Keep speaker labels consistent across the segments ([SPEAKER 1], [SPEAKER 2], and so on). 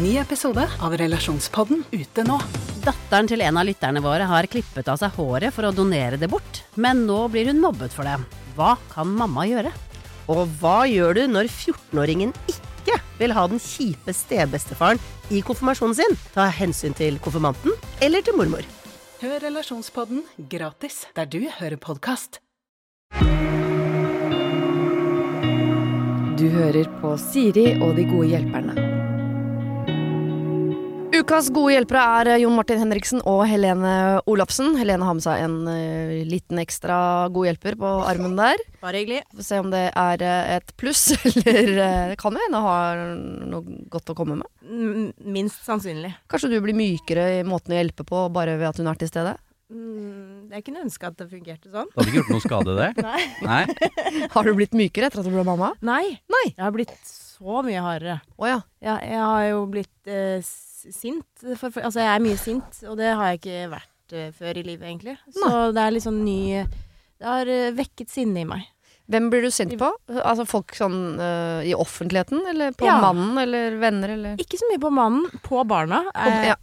[SPEAKER 1] Ny episode av Relasjonspodden ute nå.
[SPEAKER 2] Datteren til en av lytterne våre har klippet av seg håret for å donere det bort, men nå blir hun mobbet for det. Hva kan mamma gjøre?
[SPEAKER 3] Og hva gjør du når 14-åringen ikke vil ha den kjipe stebestefaren i konfirmasjonen sin? Ta hensyn til konfirmanten eller til mormor.
[SPEAKER 1] Hør Relasjonspodden gratis der du hører podkast.
[SPEAKER 4] Du hører på Siri og de gode hjelperne.
[SPEAKER 5] Ukas gode hjelpere er eh, Jon Martin Henriksen og Helene Olafsen. Helene har med seg en eh, liten ekstra god hjelper på armen der.
[SPEAKER 3] Bare hyggelig.
[SPEAKER 5] Får se om det er eh, et pluss, eller eh, det kan jo hende har noe godt å komme med.
[SPEAKER 3] M- Minst sannsynlig.
[SPEAKER 5] Kanskje du blir mykere i måten å hjelpe på bare ved at hun er til stede?
[SPEAKER 3] Mm, Jeg kunne ønske at det fungerte sånn.
[SPEAKER 6] Det hadde ikke gjort noe skade, det.
[SPEAKER 3] Nei.
[SPEAKER 6] Nei.
[SPEAKER 5] Har du blitt mykere etter at du ble mamma?
[SPEAKER 3] Nei.
[SPEAKER 5] Nei.
[SPEAKER 3] Jeg har blitt så mye hardere.
[SPEAKER 5] Å ja.
[SPEAKER 3] Jeg, jeg har jo blitt eh, s- sint. For, for, altså, jeg er mye sint, og det har jeg ikke vært eh, før i livet, egentlig. Så det er litt sånn ny Det har eh, vekket sinnet i meg.
[SPEAKER 5] Hvem blir du sint på? Altså folk sånn eh, i offentligheten? Eller på
[SPEAKER 3] Ja.
[SPEAKER 5] mannen? Eller venner? Eller
[SPEAKER 3] Ikke så mye på mannen, på barna. Eh,
[SPEAKER 5] ja.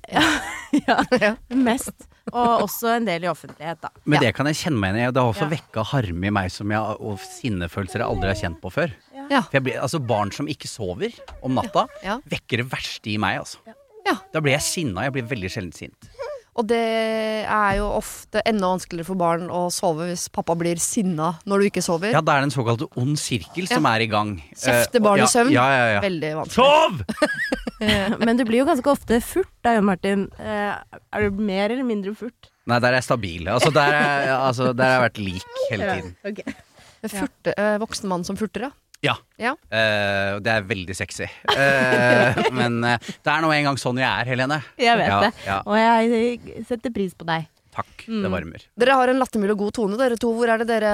[SPEAKER 3] ja,
[SPEAKER 5] Ja.
[SPEAKER 3] mest. Og også en del i offentlighet, da.
[SPEAKER 6] Men det kan jeg kjenne meg igjen i. Det har også
[SPEAKER 3] Ja.
[SPEAKER 6] vekka harme i meg som jeg, og sinnefølelser jeg aldri har kjent på før.
[SPEAKER 5] Ja.
[SPEAKER 6] For jeg ble, altså Barn som ikke sover om natta,
[SPEAKER 5] Ja.
[SPEAKER 6] vekker det verste i meg. altså.
[SPEAKER 5] Ja.
[SPEAKER 6] Da blir jeg sinna. Jeg blir veldig sjelden sint.
[SPEAKER 5] Og det er jo ofte enda vanskeligere for barn å sove hvis pappa blir sinna når du ikke sover.
[SPEAKER 6] Ja, Da er det en såkalt ond sirkel som er i gang.
[SPEAKER 5] Kjefte
[SPEAKER 6] Eh, og-
[SPEAKER 5] barn i
[SPEAKER 6] ja,
[SPEAKER 5] søvn.
[SPEAKER 6] Ja, ja, ja.
[SPEAKER 5] Veldig vanskelig.
[SPEAKER 6] Sov!
[SPEAKER 3] Men du blir jo ganske ofte furt da, Jon Martin. Eh, Er du mer eller mindre furt?
[SPEAKER 6] Nei, der er jeg stabil. Altså, der, er, altså, der har jeg vært lik hele tiden.
[SPEAKER 5] Men Furte, eh, voksen mann som furter, ja.
[SPEAKER 6] Ja.
[SPEAKER 5] Ja.
[SPEAKER 6] Eh, og det er veldig sexy. Eh, men eh, det er nå engang sånn jeg er, Helene.
[SPEAKER 3] Jeg vet
[SPEAKER 6] ja,
[SPEAKER 3] det.
[SPEAKER 6] Ja,
[SPEAKER 3] Og jeg eh, setter pris på deg.
[SPEAKER 6] takk.
[SPEAKER 3] Mm.
[SPEAKER 6] Det varmer.
[SPEAKER 5] Dere har en lattermild og god tone, dere to. Hvor er det dere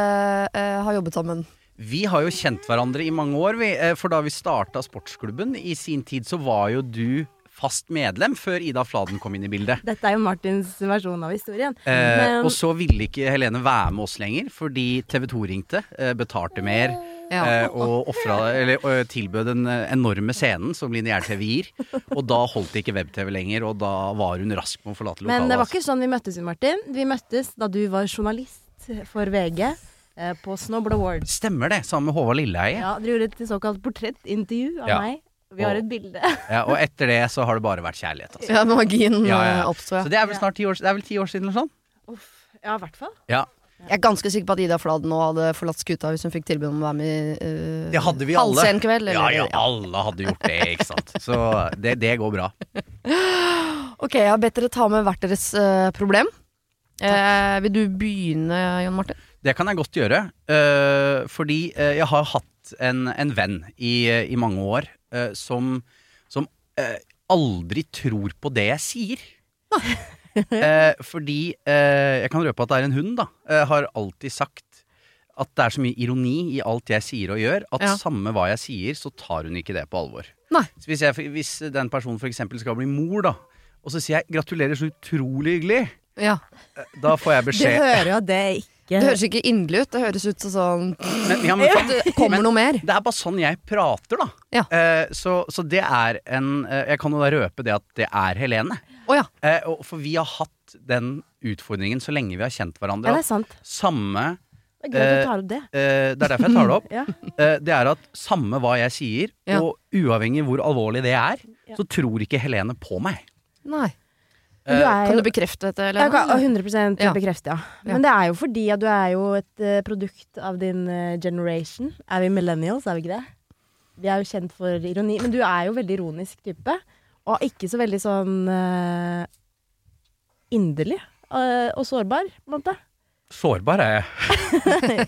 [SPEAKER 5] eh, har jobbet sammen?
[SPEAKER 6] Vi har jo kjent hverandre i mange år, vi. Eh, For da vi starta sportsklubben i sin tid, så var jo du fast medlem før Ida Fladen kom inn i bildet.
[SPEAKER 3] Dette er jo Martins versjon av historien.
[SPEAKER 6] Eh,
[SPEAKER 3] Men-
[SPEAKER 6] og så ville ikke Helene være med oss lenger, fordi TV 2 ringte, eh, betalte mer.
[SPEAKER 5] Ja.
[SPEAKER 6] eh, Og offra, eller, eh, tilbød den eh, enorme scenen som lineær-TV gir. Og da holdt det ikke web-TV lenger, og da var hun rask med å forlate lokalet.
[SPEAKER 3] Men det var
[SPEAKER 6] altså.
[SPEAKER 3] ikke sånn vi møttes, Jon Martin. Vi møttes da du var journalist for VG eh, på Snobble Awards.
[SPEAKER 6] Stemmer det, sammen med Håvard Lilleheie. Ja.
[SPEAKER 3] Ja, Dere gjorde et såkalt portrettintervju av
[SPEAKER 6] Ja.
[SPEAKER 3] meg. Vi har
[SPEAKER 6] Og-
[SPEAKER 3] et bilde.
[SPEAKER 6] og etter det så har det bare vært kjærlighet. Altså.
[SPEAKER 5] Ja, magien
[SPEAKER 3] Mm,
[SPEAKER 6] Ja, ja,
[SPEAKER 5] eh,
[SPEAKER 6] ja.
[SPEAKER 5] oppstod,
[SPEAKER 6] Så
[SPEAKER 5] ja.
[SPEAKER 6] det er vel snart ti år, det er vel ti år siden eller sånn?
[SPEAKER 3] Ja, i hvert fall.
[SPEAKER 6] Ja.
[SPEAKER 5] Jeg er ganske sikker på at Ida Fladen nå hadde forlatt skuta hvis hun fikk tilbud om å være med i eh,
[SPEAKER 6] Det hadde vi alle.
[SPEAKER 5] Halvsenkveld, eller?
[SPEAKER 6] Ja, ja, alle hadde gjort det, ikke sant. Så det, det går bra.
[SPEAKER 5] Ok, jeg har bedt dere ta med hvert deres eh, problem. Eh, vil du begynne, Jon Martin?
[SPEAKER 6] Det kan jeg godt gjøre, øh, fordi øh, jeg har hatt en, en venn i, øh, i mange år øh, som, som øh, aldri tror på det jeg sier. Eh, fordi eh, jeg kan røpe at det er en hund, da. Eh, har alltid sagt at det er så mye ironi i alt jeg sier og gjør, at
[SPEAKER 5] Ja.
[SPEAKER 6] samme hva jeg sier, så tar hun ikke det på alvor.
[SPEAKER 5] Nei.
[SPEAKER 6] Så hvis, jeg, hvis den personen f.eks. skal bli mor, da, og så sier jeg 'gratulerer, så utrolig hyggelig',
[SPEAKER 5] Ja.
[SPEAKER 6] da får jeg beskjed
[SPEAKER 3] hører jo det ikke
[SPEAKER 5] Det høres ikke inderlig ut. Det høres ut som sånn
[SPEAKER 6] men, ja, men, faen,
[SPEAKER 5] Det kommer
[SPEAKER 6] men-
[SPEAKER 5] noe mer.
[SPEAKER 6] Det er bare sånn jeg prater, da.
[SPEAKER 5] Ja.
[SPEAKER 6] Eh, så, så det er en eh, Jeg kan jo da røpe det at det er Helene.
[SPEAKER 5] Å ja.
[SPEAKER 6] Eh, og, for vi har hatt den utfordringen så lenge vi har kjent hverandre.
[SPEAKER 3] Ja, det
[SPEAKER 6] at
[SPEAKER 3] er sant.
[SPEAKER 6] samme
[SPEAKER 3] Det er gøy at
[SPEAKER 6] Eh,
[SPEAKER 3] du tar opp det.
[SPEAKER 6] Eh, Det er derfor jeg tar det opp.
[SPEAKER 3] Ja.
[SPEAKER 6] Eh, Det er at samme hva jeg sier,
[SPEAKER 5] Ja.
[SPEAKER 6] og uavhengig hvor alvorlig det er, så tror ikke Helene på meg.
[SPEAKER 5] Nei.
[SPEAKER 3] Men du er
[SPEAKER 5] eh, Kan
[SPEAKER 3] jo
[SPEAKER 5] du bekrefte dette,
[SPEAKER 3] jeg kan
[SPEAKER 5] Helene?
[SPEAKER 3] 100
[SPEAKER 5] Ja.
[SPEAKER 3] bekrefte, ja.
[SPEAKER 5] Ja.
[SPEAKER 3] Men det er jo fordi at du er jo et eh, produkt av din eh, generation. Er vi millennials, er vi ikke det? Vi er jo kjent for ironi. Men du er jo veldig ironisk type. Og ikke så veldig sånn eh, inderlig. eh, og sårbar, på en måte.
[SPEAKER 6] Sårbar er jeg.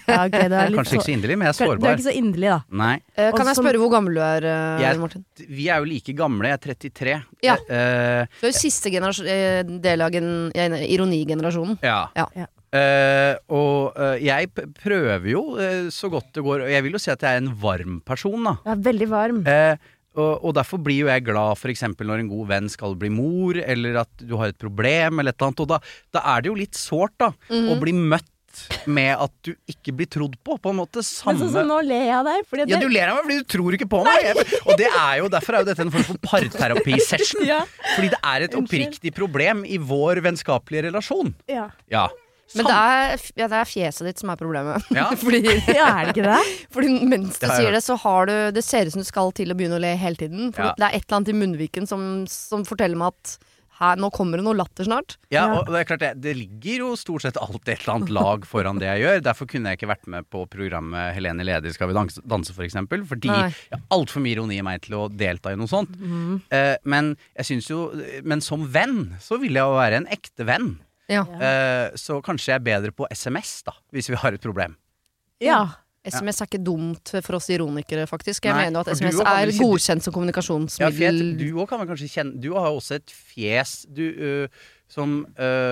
[SPEAKER 3] Ja, ok, du er litt
[SPEAKER 6] Kanskje ikke så inderlig, men jeg er
[SPEAKER 3] Du er
[SPEAKER 6] sårbar.
[SPEAKER 3] ikke så inderlig, da.
[SPEAKER 6] Nei.
[SPEAKER 5] Eh, Kan jeg
[SPEAKER 3] Også-
[SPEAKER 5] spørre hvor gammel du er, eh,
[SPEAKER 6] Jeg-
[SPEAKER 5] Martin?
[SPEAKER 6] Vi er jo like gamle. Jeg er 33.
[SPEAKER 5] Ja.
[SPEAKER 6] Eh,
[SPEAKER 5] Du er jo siste generasjon- eh, del av gen- eh, ironigenerasjonen.
[SPEAKER 6] ja.
[SPEAKER 5] Ja.
[SPEAKER 3] Ja.
[SPEAKER 6] Eh, og eh, jeg p- prøver jo eh, så godt det går, og jeg vil jo si at jeg er en varm person, da.
[SPEAKER 3] Du er veldig varm.
[SPEAKER 6] Eh, og, og derfor blir jo jeg glad f.eks. når en god venn skal bli
[SPEAKER 3] Mhm.
[SPEAKER 6] mor, eller at du har et problem, eller et eller annet. Og da, da er det jo litt sårt, da, å bli møtt godt med at du ikke blir trodd på. På en måte
[SPEAKER 3] Men
[SPEAKER 6] samme
[SPEAKER 3] sånn som nå ler jeg av deg. Fordi
[SPEAKER 6] Ja,
[SPEAKER 3] det-
[SPEAKER 6] du ler av meg fordi du tror ikke på meg! Jeg- Og det er jo, derfor er jo dette en form for parterapisession.
[SPEAKER 3] Ja.
[SPEAKER 6] Fordi det er et oppriktig problem i vår vennskapelige relasjon.
[SPEAKER 3] ja.
[SPEAKER 6] Ja.
[SPEAKER 5] Men det er, f- ja, det er fjeset ditt som er problemet.
[SPEAKER 6] Ja.
[SPEAKER 5] Fordi,
[SPEAKER 3] ja, er det ikke det?
[SPEAKER 5] fordi mens du
[SPEAKER 6] Det har jeg
[SPEAKER 5] sier det, så har du Det ser ut som du skal til å begynne å le hele tiden. For
[SPEAKER 6] Ja.
[SPEAKER 5] det er et eller annet i munnviken som, som forteller meg at her, nå kommer det noe latter snart.
[SPEAKER 6] Ja,
[SPEAKER 3] Ja.
[SPEAKER 6] og det er klart det, det ligger jo stort sett alltid et eller annet lag foran det jeg gjør. Derfor kunne jeg ikke vært med på programmet Helene Leder skal vi danse, danse for eksempel. Fordi
[SPEAKER 5] Nei.
[SPEAKER 6] jeg har altfor mye ironi i meg til å delta i noe sånt.
[SPEAKER 5] Mhm.
[SPEAKER 6] Eh, men jeg synes jo Men som venn så vil jeg jo være en ekte venn.
[SPEAKER 5] Ja.
[SPEAKER 6] Eh, så kanskje jeg er bedre på SMS, da, hvis vi har et problem.
[SPEAKER 3] Ja.
[SPEAKER 5] SMS er ikke dumt for oss ironikere, faktisk. Jeg
[SPEAKER 6] Nei,
[SPEAKER 5] mener jo at
[SPEAKER 6] for du
[SPEAKER 5] SMS
[SPEAKER 6] også kan
[SPEAKER 5] er
[SPEAKER 6] vel si-
[SPEAKER 5] godkjent som
[SPEAKER 6] Ja, for
[SPEAKER 5] kommunikasjonsmiddel.
[SPEAKER 6] jeg, du òg kan vel kanskje kjenne Du har jo også et fjes du, øh, som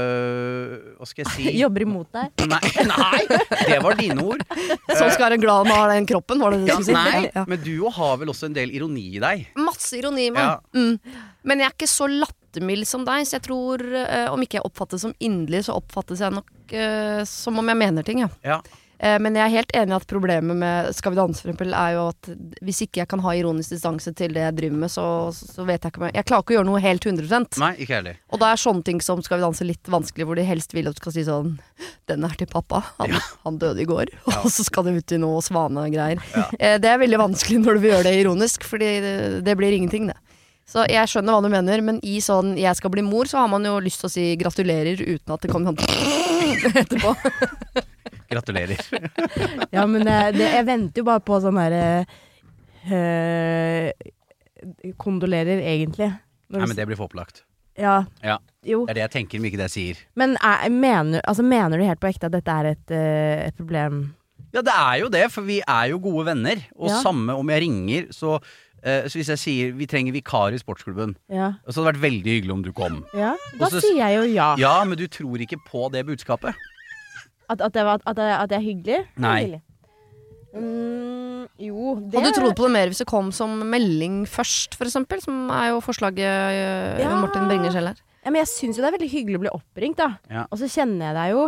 [SPEAKER 6] øh, Hva skal jeg si?
[SPEAKER 3] Jobber imot deg.
[SPEAKER 6] Nei, nei, det var dine ord.
[SPEAKER 5] Som skal være glad med den kroppen, var det det du
[SPEAKER 6] Ja,
[SPEAKER 5] skulle si?
[SPEAKER 6] nei,
[SPEAKER 5] Ja.
[SPEAKER 6] men du òg har vel også en del ironi i deg.
[SPEAKER 5] Masse ironi i meg.
[SPEAKER 6] Ja.
[SPEAKER 5] Mm. Men jeg er ikke så lattermild som deg, så jeg tror eh, om ikke jeg oppfattes som inderlig, så oppfattes jeg nok eh, som om jeg mener ting, ja.
[SPEAKER 6] Ja.
[SPEAKER 5] Eh, men jeg er helt enig i at problemet med Skal vi danse, for eksempel, er jo at hvis ikke jeg kan ha ironisk distanse til det jeg driver med, så, så vet jeg ikke om jeg Jeg klarer ikke å gjøre noe helt 100
[SPEAKER 6] Nei, ikke heller.
[SPEAKER 5] Og da er sånne ting som Skal vi danse litt vanskelig, hvor de helst vil at du skal si sånn Den er til pappa. Han, han døde i går. Og så skal det ut i noe svanegreier. Eh, Det er veldig vanskelig når du vil gjøre det ironisk, Fordi det, det blir ingenting, det. Så jeg skjønner hva du mener, men i sånn 'jeg skal bli mor', så har man jo lyst til å si gratulerer uten at det kommer sånn etterpå.
[SPEAKER 6] Gratulerer.
[SPEAKER 3] Ja, men eh, det, jeg venter jo bare på sånn herre eh, Kondolerer, egentlig. Når
[SPEAKER 6] Nei,
[SPEAKER 3] du
[SPEAKER 6] men det blir for opplagt.
[SPEAKER 3] s- Ja,
[SPEAKER 6] Ja,
[SPEAKER 3] jo.
[SPEAKER 6] det er det jeg tenker, men ikke det jeg sier.
[SPEAKER 3] Men er, mener, altså, mener du helt på ekte at dette er et, eh, et problem?
[SPEAKER 6] Ja, det er jo det, for vi er jo gode venner. Og
[SPEAKER 3] Ja.
[SPEAKER 6] samme om jeg ringer, så, eh, så hvis jeg sier vi trenger vikar i sportsklubben,
[SPEAKER 3] Ja.
[SPEAKER 6] så hadde det vært veldig hyggelig om du kom.
[SPEAKER 3] ja. Da
[SPEAKER 6] Og så-
[SPEAKER 3] sier jeg jo ja.
[SPEAKER 5] Ah.
[SPEAKER 6] Ja, men du tror ikke på det budskapet.
[SPEAKER 3] At, at, det, var- at, det, at det er hyggelig?
[SPEAKER 6] Nei.
[SPEAKER 3] Hyggelig. Mm, jo, det
[SPEAKER 5] Hadde du trodd på det mer hvis det kom som melding først, f.eks.? Som er jo forslaget eh,
[SPEAKER 3] Ja.
[SPEAKER 5] Martin bringer selv her.
[SPEAKER 3] ja, Men jeg syns jo det er veldig hyggelig å bli oppringt, da.
[SPEAKER 6] Ja.
[SPEAKER 3] Og så kjenner jeg deg jo.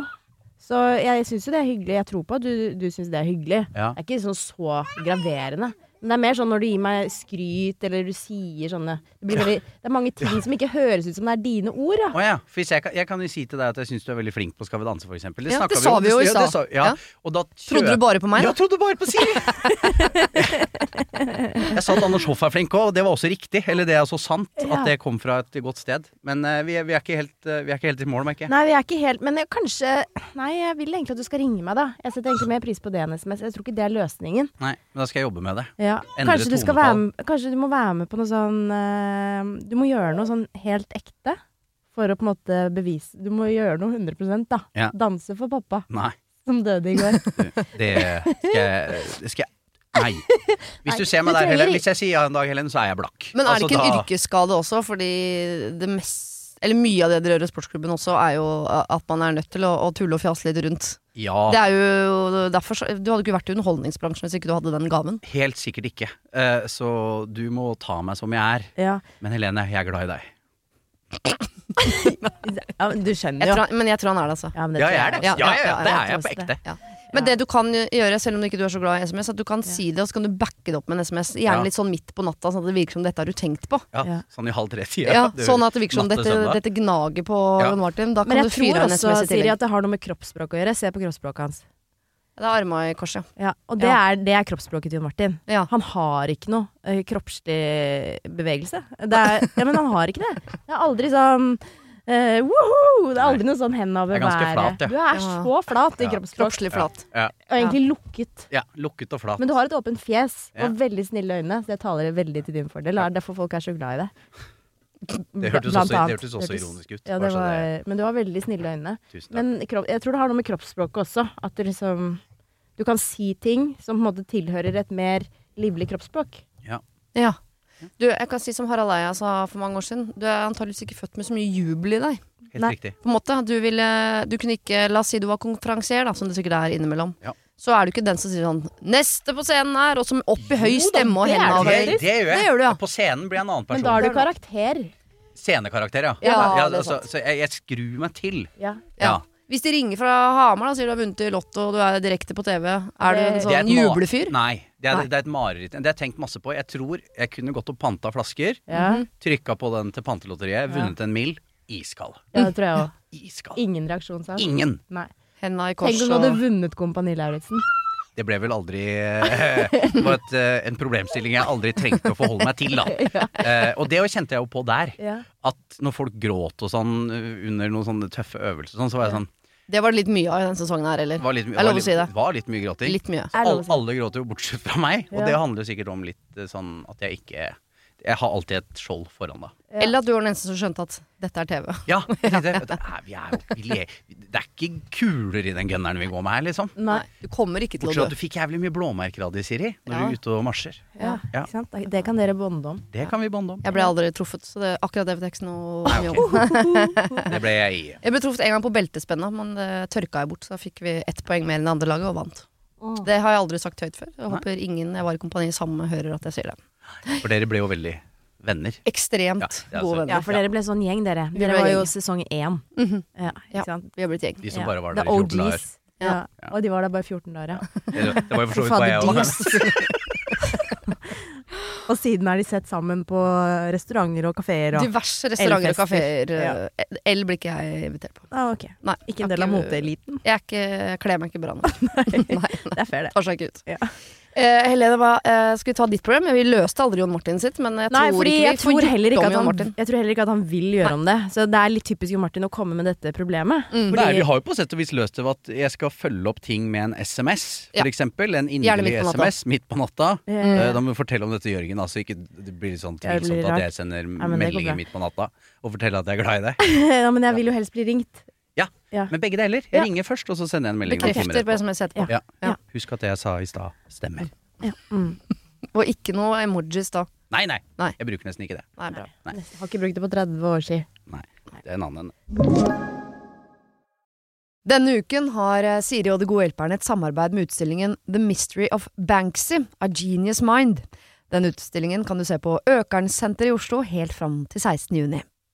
[SPEAKER 3] Så jeg syns jo det er hyggelig. Jeg tror på at du, du syns det er hyggelig.
[SPEAKER 6] Ja.
[SPEAKER 3] Det er ikke sånn så graverende. Men det er mer sånn når du gir meg skryt, eller du sier sånne Det, blir veldig, det er mange ting som ikke høres ut som det er dine ord, da.
[SPEAKER 6] Å ja, for hvis jeg, kan, jeg kan jo si til deg at jeg syns du er veldig flink på Skal vi danse, for eksempel.
[SPEAKER 5] Ja,
[SPEAKER 6] snakket
[SPEAKER 5] det sa
[SPEAKER 6] om.
[SPEAKER 5] vi jo i
[SPEAKER 6] Ja, det
[SPEAKER 5] stad.
[SPEAKER 6] sa- Ja,
[SPEAKER 5] Ja.
[SPEAKER 6] Og da
[SPEAKER 5] Trodde du bare på meg?
[SPEAKER 6] Ja,
[SPEAKER 5] da?
[SPEAKER 6] trodde bare på Siri! jeg sa at Anders Hoff er flink òg, og det var også riktig. Eller det er så sant
[SPEAKER 3] Ja.
[SPEAKER 6] at det kom fra et godt sted. Men eh, vi, er- vi, er ikke helt, eh, vi er ikke helt i mål, merker jeg.
[SPEAKER 3] Nei, vi er ikke helt Men jeg, kanskje Nei, jeg vil egentlig at du skal ringe meg, da. Jeg setter egentlig mer pris på det enn SMS. Jeg tror ikke det er løsningen.
[SPEAKER 6] Nei, men da skal jeg jobbe med det.
[SPEAKER 3] Ja.
[SPEAKER 6] Endre
[SPEAKER 3] Kanskje, du skal være
[SPEAKER 6] tonefall.
[SPEAKER 3] med, kanskje du må være med på noe sånn eh, Du må gjøre noe sånn helt ekte for å på en måte bevise Du må gjøre noe 100 da.
[SPEAKER 6] Ja.
[SPEAKER 3] Danse for pappa,
[SPEAKER 6] Nei,
[SPEAKER 3] som døde i går.
[SPEAKER 6] det skal jeg, det skal jeg Nei. Hvis du ser meg
[SPEAKER 3] du
[SPEAKER 6] der,
[SPEAKER 3] trenger
[SPEAKER 6] Helen,
[SPEAKER 3] ikke-
[SPEAKER 6] hvis jeg sier ja en dag, Helen, så er jeg blakk.
[SPEAKER 5] Men er det
[SPEAKER 6] Altså,
[SPEAKER 5] ikke en
[SPEAKER 6] da-
[SPEAKER 5] yrkesskade også? Fordi det mest, eller mye av det dere gjør i sportsklubben også, er jo at man er nødt til å, å tulle og fjase litt rundt.
[SPEAKER 6] Ja.
[SPEAKER 5] Det er jo derfor så- Du hadde ikke vært i underholdningsbransjen hvis ikke du hadde den gaven.
[SPEAKER 6] Helt sikkert ikke. Eh, så du må ta meg som jeg er.
[SPEAKER 3] Ja.
[SPEAKER 6] Men Helene, jeg er glad i deg.
[SPEAKER 3] ja, men du skjønner
[SPEAKER 5] Jeg
[SPEAKER 3] jo.
[SPEAKER 5] tror han, men jeg tror han er det, altså.
[SPEAKER 3] Ja, men
[SPEAKER 6] Ja,
[SPEAKER 3] tror
[SPEAKER 6] jeg er det.
[SPEAKER 5] Ja,
[SPEAKER 6] Ja, ja,
[SPEAKER 5] ja, ja,
[SPEAKER 6] det er jeg på
[SPEAKER 3] jeg
[SPEAKER 6] ekte.
[SPEAKER 5] Men det du kan gjøre, selv om du ikke er så glad i SMS, at du kan si det, og så kan du backe det opp med en SMS. Gjerne
[SPEAKER 6] Ja.
[SPEAKER 5] litt sånn midt på natta, sånn at det virker som dette har du tenkt på.
[SPEAKER 6] Ja,
[SPEAKER 3] Ja.
[SPEAKER 6] Sånn i halv tre-tida.
[SPEAKER 5] Ja, sånn at det virker som
[SPEAKER 6] natt til
[SPEAKER 5] dette,
[SPEAKER 6] søndag.
[SPEAKER 5] dette gnager på
[SPEAKER 6] Ja.
[SPEAKER 5] Martin. Da
[SPEAKER 3] Men
[SPEAKER 5] kan
[SPEAKER 3] jeg
[SPEAKER 5] du fyre
[SPEAKER 3] tror
[SPEAKER 5] av en
[SPEAKER 3] også,
[SPEAKER 5] SMS i
[SPEAKER 3] Siri,
[SPEAKER 5] tillegg.
[SPEAKER 3] at det har noe med kroppsspråk å gjøre. Se på kroppsspråket hans.
[SPEAKER 5] Det er arma i kors, ja.
[SPEAKER 3] Ja, og det,
[SPEAKER 5] Ja.
[SPEAKER 3] er, det er kroppsspråket til Jon Martin.
[SPEAKER 5] ja.
[SPEAKER 3] Han har ikke noe eh, kroppslig bevegelse. Det er, ja, men han har ikke det. Det er aldri sånn eh, woho! Det er aldri noe sånn hendene over
[SPEAKER 6] Jeg er ganske flat, ja.
[SPEAKER 3] Du er
[SPEAKER 5] Ja.
[SPEAKER 3] så flat i
[SPEAKER 6] Ja.
[SPEAKER 3] kroppsspråk.
[SPEAKER 5] Kroppslig flat.
[SPEAKER 6] Ja,
[SPEAKER 3] Og egentlig lukket.
[SPEAKER 6] ja, lukket og flat.
[SPEAKER 3] Men du har et åpent fjes
[SPEAKER 6] Ja.
[SPEAKER 3] og veldig snille øyne, så det taler veldig til din fordel. Det er derfor folk er så glad i deg.
[SPEAKER 6] Det hørtes
[SPEAKER 3] Blant
[SPEAKER 6] også- det
[SPEAKER 3] annet.
[SPEAKER 6] hørtes også ironisk ut,
[SPEAKER 3] Ja,
[SPEAKER 6] bare
[SPEAKER 3] det
[SPEAKER 6] så
[SPEAKER 3] var, men du har veldig snille øyne.
[SPEAKER 6] Tusen takk.
[SPEAKER 3] Men kropp, jeg tror det har noe med kroppsspråket også. At du liksom Du kan si ting som på en måte tilhører et mer livlig kroppsspråk.
[SPEAKER 6] Ja.
[SPEAKER 5] Ja. Du, jeg kan si som Harald Eia sa for mange år siden. Du er antageligvis ikke født med så mye jubel i deg.
[SPEAKER 6] Helt
[SPEAKER 3] Nei.
[SPEAKER 6] riktig.
[SPEAKER 5] På en måte, du, ville, du kunne ikke La oss si du var konferansier, da, som du sikkert er innimellom.
[SPEAKER 6] Ja.
[SPEAKER 5] Så er du ikke den som sier sånn 'Neste på scenen her!' Og som opp i høy
[SPEAKER 3] Jo da,
[SPEAKER 5] stemme og
[SPEAKER 3] det er
[SPEAKER 5] hendene
[SPEAKER 3] Ja,
[SPEAKER 5] av
[SPEAKER 6] det,
[SPEAKER 5] høy.
[SPEAKER 3] faktisk.
[SPEAKER 6] det gjør jeg.
[SPEAKER 5] Det gjør du, ja.
[SPEAKER 6] På scenen blir jeg en annen person.
[SPEAKER 3] Men da er du karakter.
[SPEAKER 6] Scenekarakter, ja.
[SPEAKER 5] Ja, det er
[SPEAKER 6] altså,
[SPEAKER 5] sant.
[SPEAKER 6] så jeg, jeg skrur meg til.
[SPEAKER 3] Ja.
[SPEAKER 5] Ja. Hvis de ringer fra Hamar da, sier du har vunnet i Lotto og du er direkte på TV, er du en
[SPEAKER 3] Det-
[SPEAKER 6] Det er
[SPEAKER 5] sånn
[SPEAKER 6] et ma-
[SPEAKER 5] jublefyr?
[SPEAKER 6] Nei, det er,
[SPEAKER 5] Nei.
[SPEAKER 6] det er et mareritt. Det har jeg tenkt masse på. Jeg tror jeg kunne gått og panta flasker,
[SPEAKER 3] Ja,
[SPEAKER 6] trykka på den til pantelotteriet, vunnet en mill. Iskald.
[SPEAKER 3] ja det tror jeg òg.
[SPEAKER 6] Iskald.
[SPEAKER 3] Ingen reaksjon, sa han.
[SPEAKER 6] Ingen.
[SPEAKER 3] Nei.
[SPEAKER 5] Henda i
[SPEAKER 3] Tenk
[SPEAKER 5] kors
[SPEAKER 3] om du
[SPEAKER 5] og
[SPEAKER 3] hadde vunnet Kompani Lauritzen.
[SPEAKER 6] Det ble vel aldri eh, Det var et, eh, en problemstilling jeg aldri trengte å forholde meg til, da. Eh, og det jo kjente jeg jo på der.
[SPEAKER 3] Ja.
[SPEAKER 6] At når folk gråt og sånn eh, under noen sånne tøffe øvelser, og sånn, så var jeg sånn
[SPEAKER 5] Det var det litt mye av i denne sesongen her, eller?
[SPEAKER 6] det var litt,
[SPEAKER 5] Jeg
[SPEAKER 6] var
[SPEAKER 5] lover å
[SPEAKER 6] litt-
[SPEAKER 5] si det.
[SPEAKER 6] var litt mye gråting.
[SPEAKER 5] Litt mye.
[SPEAKER 3] Er det lov
[SPEAKER 6] alle,
[SPEAKER 3] å si?
[SPEAKER 6] alle gråter jo bortsett fra meg, og
[SPEAKER 3] Ja.
[SPEAKER 6] det handler sikkert om litt eh, sånn at jeg ikke Jeg har alltid et skjold foran, da.
[SPEAKER 3] Ja.
[SPEAKER 5] Eller at du var den eneste som skjønte at dette er TV.
[SPEAKER 6] Ja, jeg tenkte, det, er, vi er, jo- vi le, det er ikke kuler i den gunneren vi går med her, liksom.
[SPEAKER 3] Nei.
[SPEAKER 5] Du kommer ikke til
[SPEAKER 6] Bortsett
[SPEAKER 5] å
[SPEAKER 6] fra
[SPEAKER 5] dø.
[SPEAKER 6] at du fikk jævlig mye blåmerker av de, Siri, når
[SPEAKER 5] Ja.
[SPEAKER 6] du er ute og marsjer.
[SPEAKER 3] Ja,
[SPEAKER 6] Ja.
[SPEAKER 3] ikke sant? Det kan dere bonde om.
[SPEAKER 6] Det kan vi bonde om.
[SPEAKER 5] Jeg ble aldri truffet, så det, akkurat det fikk jeg ikke noe
[SPEAKER 6] Nei,
[SPEAKER 5] mye
[SPEAKER 6] ok.
[SPEAKER 5] om.
[SPEAKER 6] Det ble jeg i. eh,
[SPEAKER 5] Jeg ble truffet en gang på beltespenna, men det tørka jeg bort. Så da fikk vi ett poeng mer enn det andre laget og vant. Det har jeg aldri sagt høyt før. Jeg håper ingen jeg var i kompani sammen med, hører at jeg sier det.
[SPEAKER 6] For dere ble jo veldig venner.
[SPEAKER 5] Ekstremt
[SPEAKER 6] Ja, det er
[SPEAKER 5] gode
[SPEAKER 6] altså-
[SPEAKER 5] venner.
[SPEAKER 3] Ja, for dere ble sånn gjeng, dere.
[SPEAKER 5] Vi
[SPEAKER 3] Dere
[SPEAKER 5] ble
[SPEAKER 3] var jo
[SPEAKER 5] gjeng.
[SPEAKER 3] sesong én. Ja,
[SPEAKER 5] Ja.
[SPEAKER 3] ikke sant?
[SPEAKER 5] Vi har blitt gjeng.
[SPEAKER 6] De som
[SPEAKER 3] Ja.
[SPEAKER 6] bare var
[SPEAKER 3] The
[SPEAKER 6] der i 14 dager.
[SPEAKER 3] OGs.
[SPEAKER 5] Ja.
[SPEAKER 3] Ja. Og de var der bare 14 dager, ja.
[SPEAKER 6] Det det var jo for så vidt
[SPEAKER 3] Fader,
[SPEAKER 6] bare jeg
[SPEAKER 3] de-
[SPEAKER 6] også.
[SPEAKER 3] Og siden er de sett sammen på restauranter og kafeer og
[SPEAKER 5] Diverse restauranter og
[SPEAKER 3] Elfester.
[SPEAKER 5] kafeer. L blir ikke jeg invitert på.
[SPEAKER 3] ah, ok.
[SPEAKER 5] Nei,
[SPEAKER 3] Ikke en
[SPEAKER 5] jeg
[SPEAKER 3] del
[SPEAKER 5] har
[SPEAKER 3] av moteeliten.
[SPEAKER 5] Jeg er ikke, jeg kler meg ikke bra nok. Nei,
[SPEAKER 3] Det er fair, det.
[SPEAKER 5] tar seg ikke ut.
[SPEAKER 3] Ja.
[SPEAKER 5] Eh, Helene, hva, eh, skal vi ta ditt problem? Vi løste aldri Jon Martin sitt, men jeg
[SPEAKER 3] Nei,
[SPEAKER 5] tror
[SPEAKER 3] fordi
[SPEAKER 5] ikke vi
[SPEAKER 3] jeg tror,
[SPEAKER 5] får
[SPEAKER 3] heller ikke
[SPEAKER 5] gjort om
[SPEAKER 3] at
[SPEAKER 5] Jon
[SPEAKER 3] han,
[SPEAKER 5] Martin.
[SPEAKER 3] jeg tror heller ikke at han vil gjøre om det. Så det er litt typisk Jon Martin å komme med dette problemet.
[SPEAKER 5] Mm.
[SPEAKER 6] Nei, vi har jo på sett og vis løst det ved at jeg skal følge opp ting med en SMS, for
[SPEAKER 5] Ja.
[SPEAKER 6] eksempel. En
[SPEAKER 5] Gjerne
[SPEAKER 6] inderlig
[SPEAKER 5] midt på natta.
[SPEAKER 6] SMS midt på natta.
[SPEAKER 3] Ja.
[SPEAKER 5] Mm.
[SPEAKER 6] Eh, Da må du fortelle om dette, Jørgen, da, så ikke det blir litt sånn
[SPEAKER 3] Ja, det blir
[SPEAKER 6] tvilsomt at
[SPEAKER 3] rart.
[SPEAKER 6] jeg sender
[SPEAKER 3] men det går bra.
[SPEAKER 6] meldinger midt på natta og forteller at jeg er glad i deg.
[SPEAKER 3] ja, men jeg vil jo helst bli ringt.
[SPEAKER 6] Men begge deler. Jeg
[SPEAKER 3] Ja.
[SPEAKER 6] ringer først, og så sender jeg en melding. noen timer
[SPEAKER 5] Bekrefter på
[SPEAKER 3] sånn-
[SPEAKER 6] etterpå.
[SPEAKER 5] SMS etterpå.
[SPEAKER 6] Ja.
[SPEAKER 5] Ja.
[SPEAKER 6] Husk at det jeg sa i stad, stemmer.
[SPEAKER 3] Mm.
[SPEAKER 5] Og ikke noe emojis da.
[SPEAKER 6] Nei, nei,
[SPEAKER 5] Nei.
[SPEAKER 6] Jeg bruker nesten ikke det.
[SPEAKER 5] Nei, bra.
[SPEAKER 6] Nei.
[SPEAKER 3] Har ikke brukt det på 30 år siden.
[SPEAKER 6] Nei. Det er en annen.
[SPEAKER 5] Denne uken har eh, Siri og De gode hjelperne et samarbeid med utstillingen The Mystery of Banksy, A Genius Mind. Den utstillingen kan du se på Økernsenteret i Oslo helt fram til 16. juni.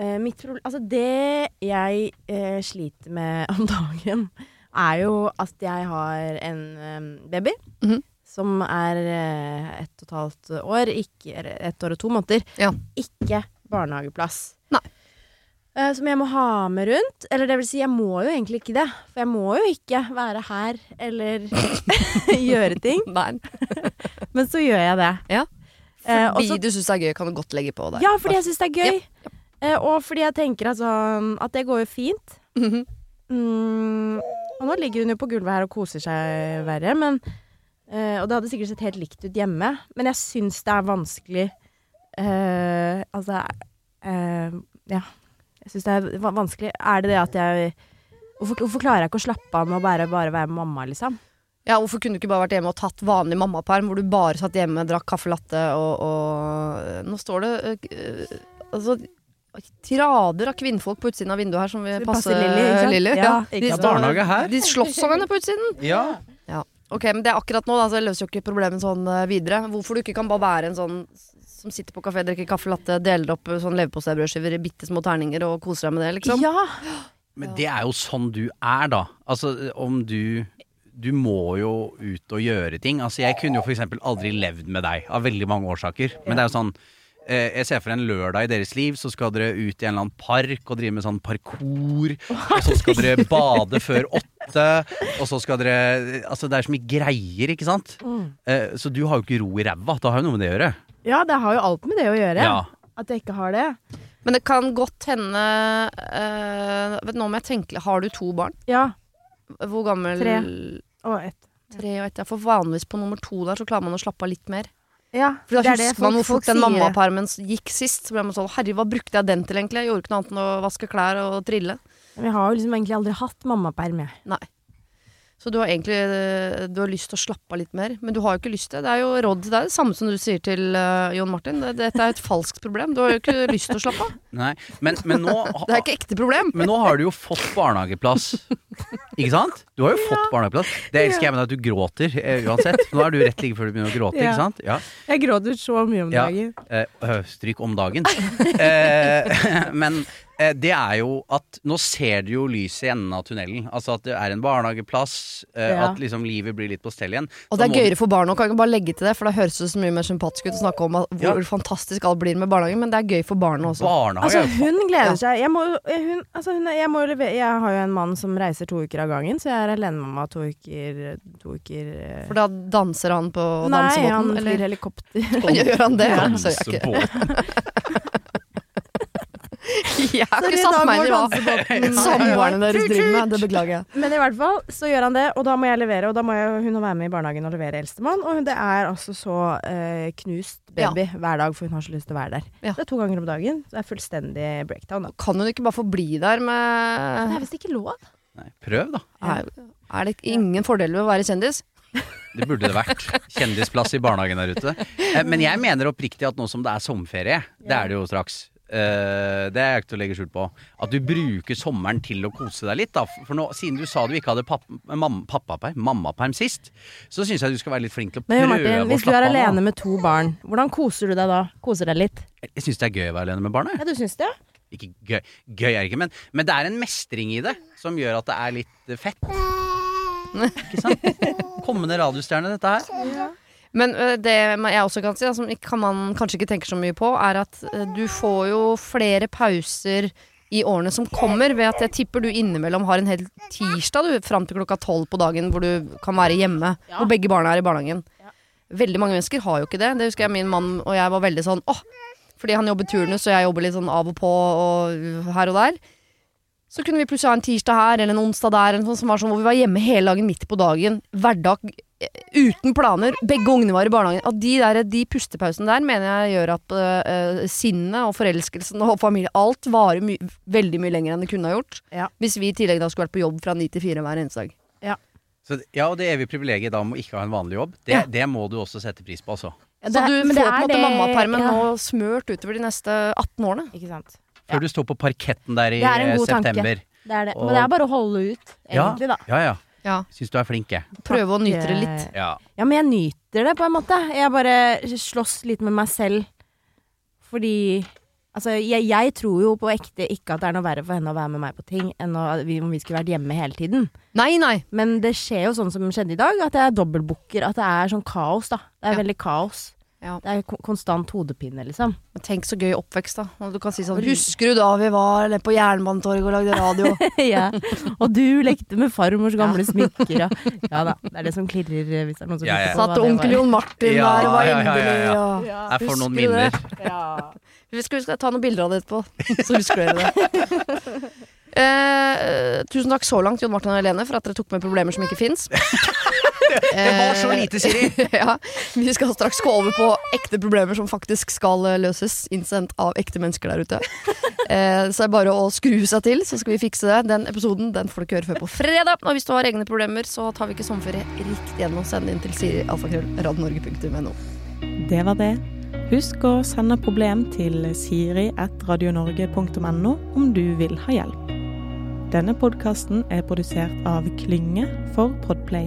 [SPEAKER 3] eh, mitt problem Altså det jeg eh, sliter med om dagen, er jo at jeg har en eh, baby.
[SPEAKER 5] Mhm.
[SPEAKER 3] Som er eh, ett og et halvt år, ikke, eller ett år og to måneder.
[SPEAKER 5] Ja.
[SPEAKER 3] Ikke barnehageplass.
[SPEAKER 5] Nei.
[SPEAKER 3] Eh, som jeg må ha med rundt. Eller det vil si, jeg må jo egentlig ikke det. For jeg må jo ikke være her eller gjøre ting.
[SPEAKER 5] Nei,
[SPEAKER 3] Men så gjør jeg det.
[SPEAKER 5] Ja.
[SPEAKER 3] Eh, og så
[SPEAKER 5] Fordi du syns det er gøy, kan du godt legge på der.
[SPEAKER 3] ja, fordi jeg syns det er gøy. Eh, og fordi jeg tenker at, sånn, at det går jo fint.
[SPEAKER 5] Mhm.
[SPEAKER 3] Mm, og nå ligger hun jo på gulvet her og koser seg verre, men eh, Og det hadde sikkert sett helt likt ut hjemme, men jeg syns det er vanskelig eh, Altså eh, Ja. Jeg syns det er va- vanskelig. Er det det at jeg Hvorfor, hvorfor klarer jeg ikke å slappe av med å bare, bare være mamma, liksom?
[SPEAKER 5] Ja, Hvorfor kunne du ikke bare vært hjemme og tatt vanlig mammaperm, hvor du bare satt hjemme, drakk kaffe latte og, og Nå står det øh, øh, altså, tirader av kvinnfolk på utsiden av vinduet her som vil passe
[SPEAKER 3] Lilly, ikke sant?
[SPEAKER 5] Lilly,
[SPEAKER 3] Ja,
[SPEAKER 5] ja.
[SPEAKER 3] ikke
[SPEAKER 5] De
[SPEAKER 3] sant?
[SPEAKER 5] står-
[SPEAKER 6] Barnehage her?
[SPEAKER 5] De slåss om henne på utsiden.
[SPEAKER 6] Ja.
[SPEAKER 5] Ok, men det er akkurat nå, da, så det løser jo ikke problemet sånn eh, videre. Hvorfor du ikke kan bare være en sånn som sitter på kafé, drikker kaffe latte, deler opp eh, sånn leverposteibrødskiver i bitte små terninger og koser deg med det, liksom.
[SPEAKER 3] Ja,
[SPEAKER 6] Men det er jo sånn du er, da. Altså, om du Du må jo ut og gjøre ting. Altså, jeg kunne jo f.eks. aldri levd med deg, av veldig mange årsaker. Men det er jo sånn eh, jeg ser for en lørdag i deres liv, så skal dere ut i en eller annen park og drive med sånn parkour. Og så skal dere bade før åtte, og så skal dere Altså, det er så mye greier, ikke sant? Eh, Så du har jo ikke ro i ræva. Det har jo noe med det å gjøre.
[SPEAKER 3] ja, det har jo alt med det å gjøre.
[SPEAKER 6] Ja.
[SPEAKER 3] At jeg ikke har det.
[SPEAKER 5] Men det kan godt hende eh, vet, du, Nå må jeg tenke Har du to barn?
[SPEAKER 3] Ja,
[SPEAKER 5] Hvor gammel?
[SPEAKER 3] Tre. og ett.
[SPEAKER 5] Tre og ett. Ja, for vanligvis på nummer to der så klarer man å slappe av litt mer.
[SPEAKER 3] Ja,
[SPEAKER 5] For da
[SPEAKER 3] det er
[SPEAKER 5] husker
[SPEAKER 3] det
[SPEAKER 5] man hvor
[SPEAKER 3] folk-
[SPEAKER 5] fort
[SPEAKER 3] folk
[SPEAKER 5] den
[SPEAKER 3] sier.
[SPEAKER 5] mammapermen s- gikk sist. Så ble man sånn Herre, hva brukte jeg den til egentlig? Jeg gjorde ikke noe annet enn å vaske klær og trille.
[SPEAKER 3] Men jeg har jo liksom egentlig aldri hatt mammaperm, jeg.
[SPEAKER 5] Så du har egentlig eh, du har lyst til å slappe av litt mer, men du har jo ikke lyst til det. Det er jo råd, det er det samme som du sier til eh, Jon Martin. Det- Dette er et falskt problem. Du har jo ikke lyst til å slappe av.
[SPEAKER 6] Nei. Men, men nå
[SPEAKER 5] Det er ikke ekte problem.
[SPEAKER 6] Men nå har du jo fått barnehageplass. Ikke sant? Du har jo fått barnehageplass. Det elsker jeg med deg at du gråter eh, uansett. Nå er du rett like før du begynner å gråte,
[SPEAKER 3] Ja.
[SPEAKER 6] ikke sant? Ja.
[SPEAKER 3] Jeg gråter så mye om
[SPEAKER 6] Ja.
[SPEAKER 3] dagen.
[SPEAKER 6] Eh, øh, stryk om dagen. Eh, men eh, det er jo at nå ser du jo lyset i enden av tunnelen. Altså at det er en barnehageplass, eh,
[SPEAKER 3] Ja.
[SPEAKER 6] at liksom livet blir litt på stell igjen.
[SPEAKER 5] Og det
[SPEAKER 6] Da
[SPEAKER 5] er
[SPEAKER 6] må du-
[SPEAKER 5] gøyere for barn òg, kan jeg ikke bare legge til det, for da høres det så mye mer sympatisk ut å snakke om at- hvor
[SPEAKER 6] Ja.
[SPEAKER 5] fantastisk alt blir med barnehagen, men det er gøy for barna også.
[SPEAKER 6] Barnehage
[SPEAKER 3] Altså,
[SPEAKER 6] er jo
[SPEAKER 3] hun gleder
[SPEAKER 5] Ja.
[SPEAKER 3] seg. Jeg, må, jo- jeg- hun, altså, hun, er- jeg, må jo levere, jeg har jo en mann som reiser to uker av gangen, så jeg er alenemamma to uker, to uker eh.
[SPEAKER 5] For da danser han på
[SPEAKER 3] Nei, han
[SPEAKER 5] dansebåten,
[SPEAKER 3] flyr
[SPEAKER 5] eller
[SPEAKER 3] helikopter.
[SPEAKER 5] gjør han det? Ja, så jeg, ikke.
[SPEAKER 6] dansebåt.
[SPEAKER 5] jeg har
[SPEAKER 3] Sorry,
[SPEAKER 5] ikke
[SPEAKER 3] da
[SPEAKER 5] satt meg
[SPEAKER 3] går
[SPEAKER 5] inn i hva
[SPEAKER 3] dansebåten.
[SPEAKER 5] samboerne deres driver med, det beklager jeg.
[SPEAKER 3] Men i hvert fall så gjør han det, og da må jeg levere. Og da må jeg, hun være med i barnehagen og levere eldstemann. Og hun, det er altså så eh, knust baby hver dag, for hun har så lyst til å være der.
[SPEAKER 5] Ja.
[SPEAKER 3] Det er to ganger om dagen. så Det er fullstendig breakdown, da.
[SPEAKER 5] Kan hun ikke bare få bli der
[SPEAKER 3] Det
[SPEAKER 5] med
[SPEAKER 3] er visst ikke lov.
[SPEAKER 6] Nei, prøv, da.
[SPEAKER 5] Er, er det ingen fordeler ved å være kjendis?
[SPEAKER 6] Det burde det vært. Kjendisplass i barnehagen der ute. Eh, Men jeg mener oppriktig at nå som det er sommerferie, det er det jo straks. eh, det er jeg ikke til å legge skjul på. At du bruker sommeren til å kose deg litt. Da. For nå, siden du sa du ikke hadde papp, eh, mam, pappaperm, mammaperm sist, så syns jeg du skal være litt flink til å
[SPEAKER 3] Men jo,
[SPEAKER 6] prøve
[SPEAKER 3] Martin,
[SPEAKER 6] å
[SPEAKER 3] hvis du
[SPEAKER 6] slappe
[SPEAKER 3] er
[SPEAKER 6] av.
[SPEAKER 3] alene med to barn, hvordan koser du deg da? Koser deg litt?
[SPEAKER 6] Jeg syns det er gøy å være alene med barnet.
[SPEAKER 3] Ja, du syns det?
[SPEAKER 6] Ikke gøy, gøy er det ikke, men, men det er en mestring i det som gjør at det er litt eh, fett. Ikke sant? Kommende radiostjerne, dette her.
[SPEAKER 5] Men ø, det man- jeg også kan si, da, som ikke- kan man kanskje ikke tenker så mye på, er at ø, du får jo flere pauser i årene som kommer, ved at jeg tipper du innimellom har en hel tirsdag du, fram til klokka tolv på dagen hvor du kan være hjemme, hvor begge barna er i barnehagen. Veldig mange mennesker har jo ikke det. Det husker jeg min mann og jeg var veldig sånn åh, fordi han jobber turnus, og jeg jobber litt sånn av og på og ø, her og der. Så kunne vi plutselig ha en tirsdag her eller en onsdag der eller noe sånt, som var sånn, hvor vi var hjemme hele dagen midt på dagen. Hverdag uten planer. Begge ungene var i barnehagen. Og de, der, de pustepausene der mener jeg gjør at eh, eh, sinnet og forelskelsen og familie Alt varer my veldig mye lenger enn det kunne ha gjort.
[SPEAKER 3] Ja.
[SPEAKER 5] Hvis vi i tillegg da skulle vært på jobb fra ni til fire hver eneste dag.
[SPEAKER 6] Så, ja, og det evige privilegiet da om å ikke ha en vanlig jobb, det, det må du også sette pris på, altså.
[SPEAKER 3] Ja,
[SPEAKER 5] Så
[SPEAKER 3] det-
[SPEAKER 5] du
[SPEAKER 3] men
[SPEAKER 5] får på
[SPEAKER 3] det
[SPEAKER 5] en
[SPEAKER 3] er
[SPEAKER 5] måte
[SPEAKER 3] det-
[SPEAKER 5] mammapermen
[SPEAKER 3] ja.
[SPEAKER 5] nå smørt utover de neste 18 årene.
[SPEAKER 3] Ikke sant.
[SPEAKER 6] Før du står på parketten der i
[SPEAKER 3] Det er en
[SPEAKER 6] eh,
[SPEAKER 3] god tanke.
[SPEAKER 6] september.
[SPEAKER 3] Det er det.
[SPEAKER 6] Og-
[SPEAKER 3] Men det er bare å holde ut, egentlig, da.
[SPEAKER 6] Ja, ja.
[SPEAKER 5] Ja.
[SPEAKER 6] Syns du er flink, jeg.
[SPEAKER 5] Prøve å nyte det litt.
[SPEAKER 6] Ja.
[SPEAKER 3] Ja, men jeg nyter det på en måte. Jeg bare slåss litt med meg selv. Fordi Altså, jeg, jeg tror jo på ekte ikke at det er noe verre for henne å være med meg på ting enn å, vi, om vi skulle vært hjemme hele tiden.
[SPEAKER 5] Nei, nei.
[SPEAKER 3] Men det skjer jo sånn som skjedde i dag, at jeg dobbeltbooker. At det er sånn kaos, da. Det er
[SPEAKER 5] Ja.
[SPEAKER 3] veldig kaos.
[SPEAKER 5] Ja.
[SPEAKER 3] Det er kon- konstant hodepine, liksom.
[SPEAKER 5] Men tenk så gøy oppvekst, da. Og Du kan si sånn Husker du da vi var nede på Jernbanetorget og lagde radio?
[SPEAKER 3] ja. Og du lekte med farmors gamle smykker og Ja da. Det er det som klirrer eh, hvis det er noen som
[SPEAKER 6] Ja, ja.
[SPEAKER 3] lurer på hva
[SPEAKER 5] Satt
[SPEAKER 3] det var.
[SPEAKER 5] onkel Jon Martin
[SPEAKER 6] Ja,
[SPEAKER 5] der og var
[SPEAKER 6] ja, ja, ja,
[SPEAKER 5] inderlig.
[SPEAKER 6] ja.
[SPEAKER 5] og-
[SPEAKER 6] Jeg får noen
[SPEAKER 5] Husker du det?
[SPEAKER 6] minner.
[SPEAKER 5] Vi skal, vi skal ta noen bilder av det etterpå, så husker dere det. Eh, tusen takk så langt, Jon Martin og Helene, for at dere tok med problemer som ikke fins.
[SPEAKER 6] Det var så lite, Siri!
[SPEAKER 5] Eh, ja, vi skal straks gå over på ekte problemer som faktisk skal eh, løses, innsendt av ekte mennesker der ute. Eh, så det er bare å skru seg til, så skal vi fikse det. Den episoden den får du ikke høre før på fredag. Og hvis du har egne problemer, så tar vi ikke sommerferie riktig gjennom. Send det inn til sirialfakrøllradnorge.no.
[SPEAKER 7] Det var det. Husk å sende problem til siri.radionorge.no om du vil ha hjelp. Denne podkasten er produsert av Klynge for Podplay.